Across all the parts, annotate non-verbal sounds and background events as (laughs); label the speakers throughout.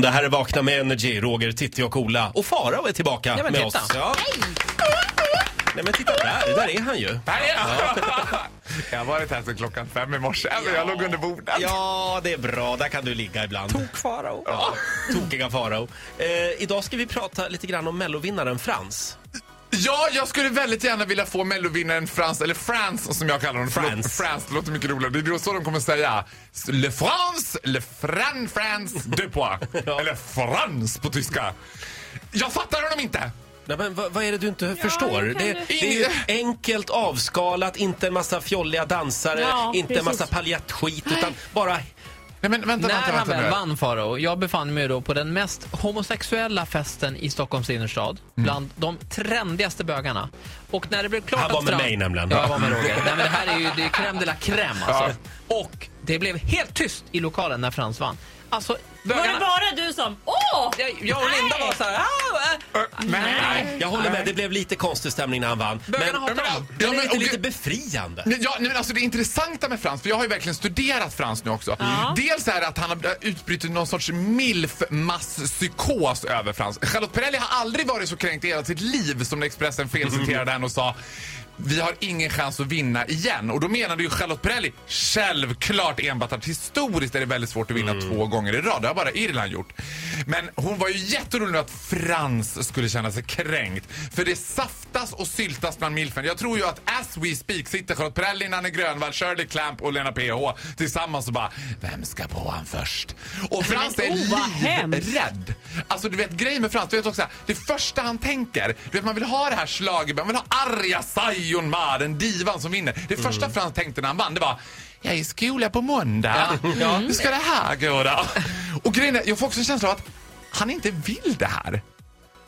Speaker 1: Det här är Vakna med Energy, Roger, Titti och Ola. Och Farao är tillbaka
Speaker 2: Ja, men
Speaker 1: med
Speaker 2: titta.
Speaker 1: oss. Ja. Nej men titta där, där är han ju.
Speaker 3: Här är jag! (laughs) Jag har varit här sedan klockan fem i morse. Alltså, Jag låg under bordet.
Speaker 1: Ja, det är bra. Där kan du ligga ibland.
Speaker 2: Farao.
Speaker 1: Ja, Tokiga Farao. Eh, idag ska vi prata lite grann om mellovinnaren Frans.
Speaker 3: Ja, jag skulle väldigt gärna vilja få mellovinnaren France, eller France som jag kallar honom. Förlåt,
Speaker 1: France.
Speaker 3: France, det låter mycket roligare. Det är så de kommer säga. Le France, le Fran France de poix. Eller France på tyska. Jag fattar honom inte.
Speaker 1: Nej, men vad, vad är det du inte förstår?
Speaker 4: det kan
Speaker 1: Det,
Speaker 4: du.
Speaker 1: det är ju enkelt avskalat, inte en massa fjolliga dansare,
Speaker 4: Ja,
Speaker 1: inte en
Speaker 4: precis.
Speaker 1: massa paljattskit, utan bara...
Speaker 3: Nej, men vänta,
Speaker 2: När
Speaker 3: vänta,
Speaker 2: han
Speaker 3: vänta. nu.
Speaker 2: väl vann Farao, jag befann mig då på den mest homosexuella festen i Stockholms innerstad.
Speaker 1: Mm.
Speaker 2: Bland de trendigaste bögarna. Och när det blev klart
Speaker 1: Han var
Speaker 2: att
Speaker 1: med
Speaker 2: Strand-
Speaker 1: mig nämligen.
Speaker 2: Ja, jag var med Roger. Nej, men det här är ju det är crème de la crème alltså. Och det blev helt tyst i lokalen när Frans vann. Alltså,
Speaker 4: Var det
Speaker 2: bögarna...
Speaker 4: bara du som... Åh!
Speaker 2: Jag, jag och Linda var så här... "Ah, eh."
Speaker 3: Ö, Men, nej.
Speaker 1: Jag håller med, det blev lite konstig stämning när han vann.
Speaker 2: Bögarna hatar
Speaker 1: men,
Speaker 2: honom.
Speaker 1: men
Speaker 3: Ja,
Speaker 1: är
Speaker 3: men-
Speaker 1: inte
Speaker 3: och-
Speaker 1: lite befriande?
Speaker 3: Men, ja, nej, men alltså det intressanta med Frans, för jag har ju verkligen studerat Frans nu också. Mm. Dels är det att han har eh, utbrutit någon sorts milf-masspsykos över Frans. Charlotte Perrelli har aldrig varit så kränkt i hela sitt liv som när Expressen felciterade henne och sa vi har ingen chans att vinna igen. Och då menade ju Charlotte Perrelli självklart enbart att historiskt är det väldigt svårt att vinna två gånger i rad. Det har bara Irland gjort. Men hon var ju jätteorolig nu att Frans skulle känna sig kränkt. För det saftas och syltas bland milfen. Jag tror ju att as we speak sitter Charlotte Perrelli, Nanne Grönvall, Shirley Clamp och Lena PH tillsammans och bara Vem ska på han först? Och Frans är
Speaker 4: oh, vad hemskt.
Speaker 3: livrädd. Alltså du vet grejen med Frans, du vet också det första han tänker, du vet man vill ha det här slaget, man vill ha arga Sayon Ma, den divan som vinner. Det
Speaker 2: Mm.
Speaker 3: första Frans tänkte när han vann, det var jag är i skola på måndag. Mm. Hur ska det här gå då? Och grejen är, jag får också en känsla av att han inte vill det här.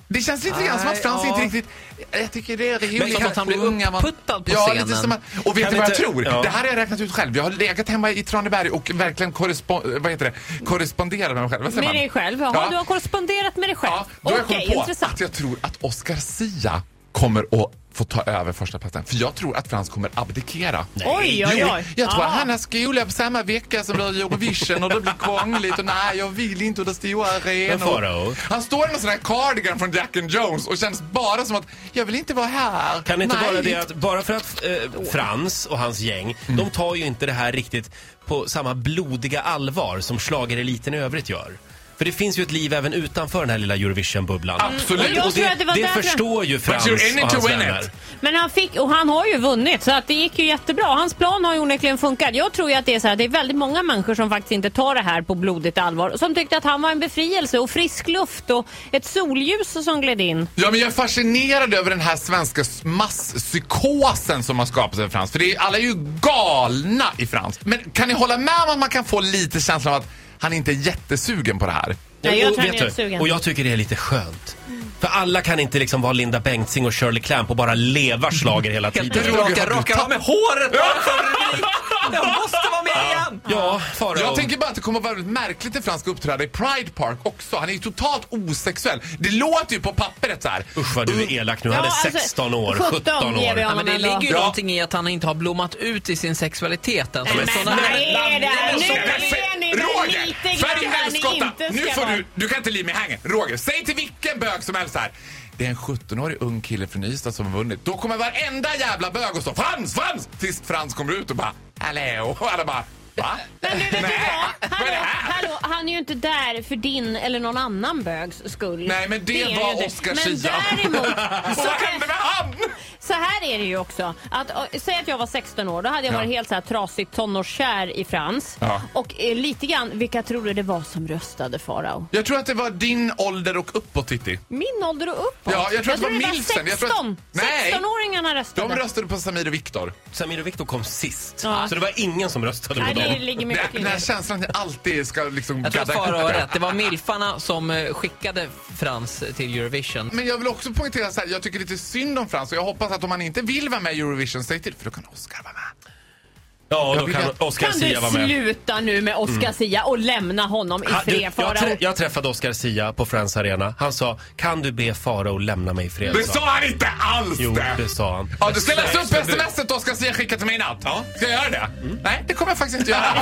Speaker 3: Det känns lite grann som att Frans
Speaker 2: ja.
Speaker 3: inte riktigt... Jag tycker det är roligt.
Speaker 2: Men som att han blir
Speaker 3: unga man-
Speaker 2: uppputtad på
Speaker 3: ja, Lite
Speaker 2: scenen.
Speaker 3: som att, och vet
Speaker 1: Kan
Speaker 3: du vad jag
Speaker 1: inte-
Speaker 3: tror?
Speaker 1: ja.
Speaker 3: Det här har jag räknat ut själv. Jag har legat hemma i Traneberg och verkligen korrespon- vad heter det? korresponderat med mig själv. Vad säger
Speaker 4: Med
Speaker 3: man?
Speaker 4: dig själv? Jaha,
Speaker 3: Ja.
Speaker 4: du har korresponderat med dig själv?
Speaker 3: Ja, då har jag
Speaker 4: Okej,
Speaker 3: kommit på att
Speaker 4: intressant.
Speaker 3: jag tror att Oscar Sia kommer att få ta över första platsen. För jag tror att Frans kommer abdikera.
Speaker 4: Oj, oj, oj. Ah.
Speaker 3: jag tror
Speaker 4: Ja.
Speaker 3: att han har skola på samma vecka som det är Eurovision och det blir krångligt och nej, jag vill inte och det är stora
Speaker 1: Men
Speaker 3: arenor.
Speaker 1: Farao?
Speaker 3: Han står i någon sån här cardigan från Jack and Jones och känns bara som att jag vill inte vara här.
Speaker 1: Kan det inte
Speaker 3: Nej.
Speaker 1: vara det att bara för att eh, Frans och hans gäng, de tar ju inte det här riktigt på samma blodiga allvar som schlagereliten i övrigt gör. För det finns ju ett liv även utanför den här lilla Eurovision-bubblan.
Speaker 3: Absolut.
Speaker 4: Och Mm. jag
Speaker 1: Och
Speaker 4: tror
Speaker 1: det,
Speaker 4: att det var
Speaker 1: det
Speaker 4: därför-
Speaker 1: förstår ju Frans
Speaker 3: you're in it
Speaker 1: och hans
Speaker 3: to win
Speaker 1: vänner.
Speaker 3: it.
Speaker 4: Men han fick, och han har ju vunnit så att det gick ju jättebra. Hans plan har ju onekligen funkat. Jag tror ju att det är så här, det är väldigt många människor som faktiskt inte tar det här på blodigt allvar. Som tyckte att han var en befrielse och frisk luft och ett solljus som gled in.
Speaker 3: Ja, men jag är fascinerad över den här svenska masspsykosen som har skapats över Frans. För det är, alla är ju galna i Frans. Men kan ni hålla med om att man kan få lite känslan av att han inte är jättesugen på det här?
Speaker 4: Nej, jag
Speaker 1: och,
Speaker 4: tror han
Speaker 1: vet
Speaker 4: är
Speaker 1: du,
Speaker 4: sugen.
Speaker 1: och jag tycker det är lite skönt. För alla kan inte liksom vara Linda Bengtzing och Shirley Clamp och bara leva schlager hela
Speaker 2: Helt
Speaker 1: tiden.
Speaker 3: Roger, har
Speaker 2: raka,
Speaker 3: du
Speaker 2: raka av med håret bara för rubrik. Jag måste vara med igen!
Speaker 1: Ja, Farao.
Speaker 3: Jag tänker bara att det kommer att vara väldigt märkligt när Frans ska uppträda i Pride Park också. Han är ju totalt osexuell. Det låter ju på papperet så här.
Speaker 1: Usch vad du är elak nu. Han
Speaker 4: Ja,
Speaker 1: är
Speaker 4: alltså,
Speaker 1: 16 år,
Speaker 4: 17
Speaker 1: 17
Speaker 4: ger vi
Speaker 1: år.
Speaker 4: honom.
Speaker 2: Ja, men det
Speaker 4: ändå.
Speaker 2: ligger ju
Speaker 3: Ja.
Speaker 2: någonting i att han inte har blommat ut i sin sexualitet än.
Speaker 4: men
Speaker 2: Sådana
Speaker 4: vad
Speaker 2: här-
Speaker 4: är det?
Speaker 2: Nej, men
Speaker 4: Nu
Speaker 2: så-
Speaker 4: är ni väl
Speaker 3: Roger!
Speaker 4: lite
Speaker 3: För i
Speaker 4: grann där ni
Speaker 3: helskotta!
Speaker 4: inte
Speaker 3: Nu
Speaker 4: ska
Speaker 3: får
Speaker 4: vara.
Speaker 3: du, du kan inte li mig hängen. Roger, säg till vilken bög som helst här. Det är en 17-årig ung kille från Ystad som har vunnit. Då kommer varenda jävla bög och så Frans, Frans! Tills Frans kommer ut och bara Hallå! Och alla bara Va?
Speaker 4: Men nu vet du
Speaker 3: Nej,
Speaker 4: vad?
Speaker 3: vad är
Speaker 4: Hallå,
Speaker 3: det här?
Speaker 4: hallå, han är ju inte där för din eller någon annan bögs skull.
Speaker 3: Nej men det,
Speaker 4: är ju
Speaker 3: var
Speaker 4: inte.
Speaker 3: Oscar
Speaker 4: Men
Speaker 3: Zia.
Speaker 4: däremot,
Speaker 3: (laughs) Och
Speaker 4: så
Speaker 3: vad hände med han?
Speaker 4: Så här är det ju också. Att, ö, säg att jag var 16 år, då hade jag
Speaker 3: Ja.
Speaker 4: varit helt så här trasigt tonårskär i Frans.
Speaker 3: Ja.
Speaker 4: Och eh, lite grann, vilka tror du det var som röstade Farao?
Speaker 3: Jag tror att det var din ålder och uppåt Titti.
Speaker 4: Min ålder och uppåt.
Speaker 3: Ja, jag tror att det var Milsen. Jag tror att-
Speaker 4: 16.
Speaker 3: Nej.
Speaker 4: 16-åringarna
Speaker 3: De
Speaker 4: röstade.
Speaker 3: röstade på Samir och Viktor.
Speaker 1: Samir och Viktor kom sist.
Speaker 4: Ja.
Speaker 1: Så det var ingen som röstade på
Speaker 4: Nej, det
Speaker 1: dem.
Speaker 4: ligger mycket
Speaker 3: Den här
Speaker 4: kring.
Speaker 3: känslan att jag alltid ska liksom
Speaker 2: Jag tror att
Speaker 3: gadda ihop
Speaker 2: Farao har
Speaker 3: det.
Speaker 2: rätt. Det var milfarna som eh, skickade Frans till Eurovision.
Speaker 3: Men jag vill också poängtera så här, jag tycker lite synd om Frans och jag hoppas att om han inte vill vara med i Eurovision, säg till för då kan Oscar vara med.
Speaker 1: Ja, och
Speaker 3: Jag
Speaker 1: då
Speaker 3: vill
Speaker 1: kan
Speaker 3: att-
Speaker 1: Oscar
Speaker 4: Kan
Speaker 1: Sia
Speaker 4: du
Speaker 1: vara med.
Speaker 4: sluta nu med Oscar
Speaker 3: Mm.
Speaker 4: Sia och lämna honom i
Speaker 1: Ha, du,
Speaker 4: fred
Speaker 1: jag,
Speaker 4: Farao?
Speaker 1: trä- jag träffade Oscar Sia på Friends Arena. Han sa, kan du be Farao lämna mig i fred?
Speaker 3: Det sa han inte alls
Speaker 1: Jo,
Speaker 3: det!
Speaker 1: det sa han.
Speaker 3: Ja, du ska läsa upp smset Oscar Zia skickade till mig i natt. Mm. (laughs) Ska jag göra det? Nej, det kommer jag faktiskt inte göra.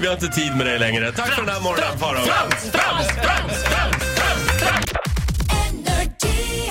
Speaker 1: Vi har inte tid med dig längre. Tack för den här morgonen, Farao.
Speaker 5: Energy.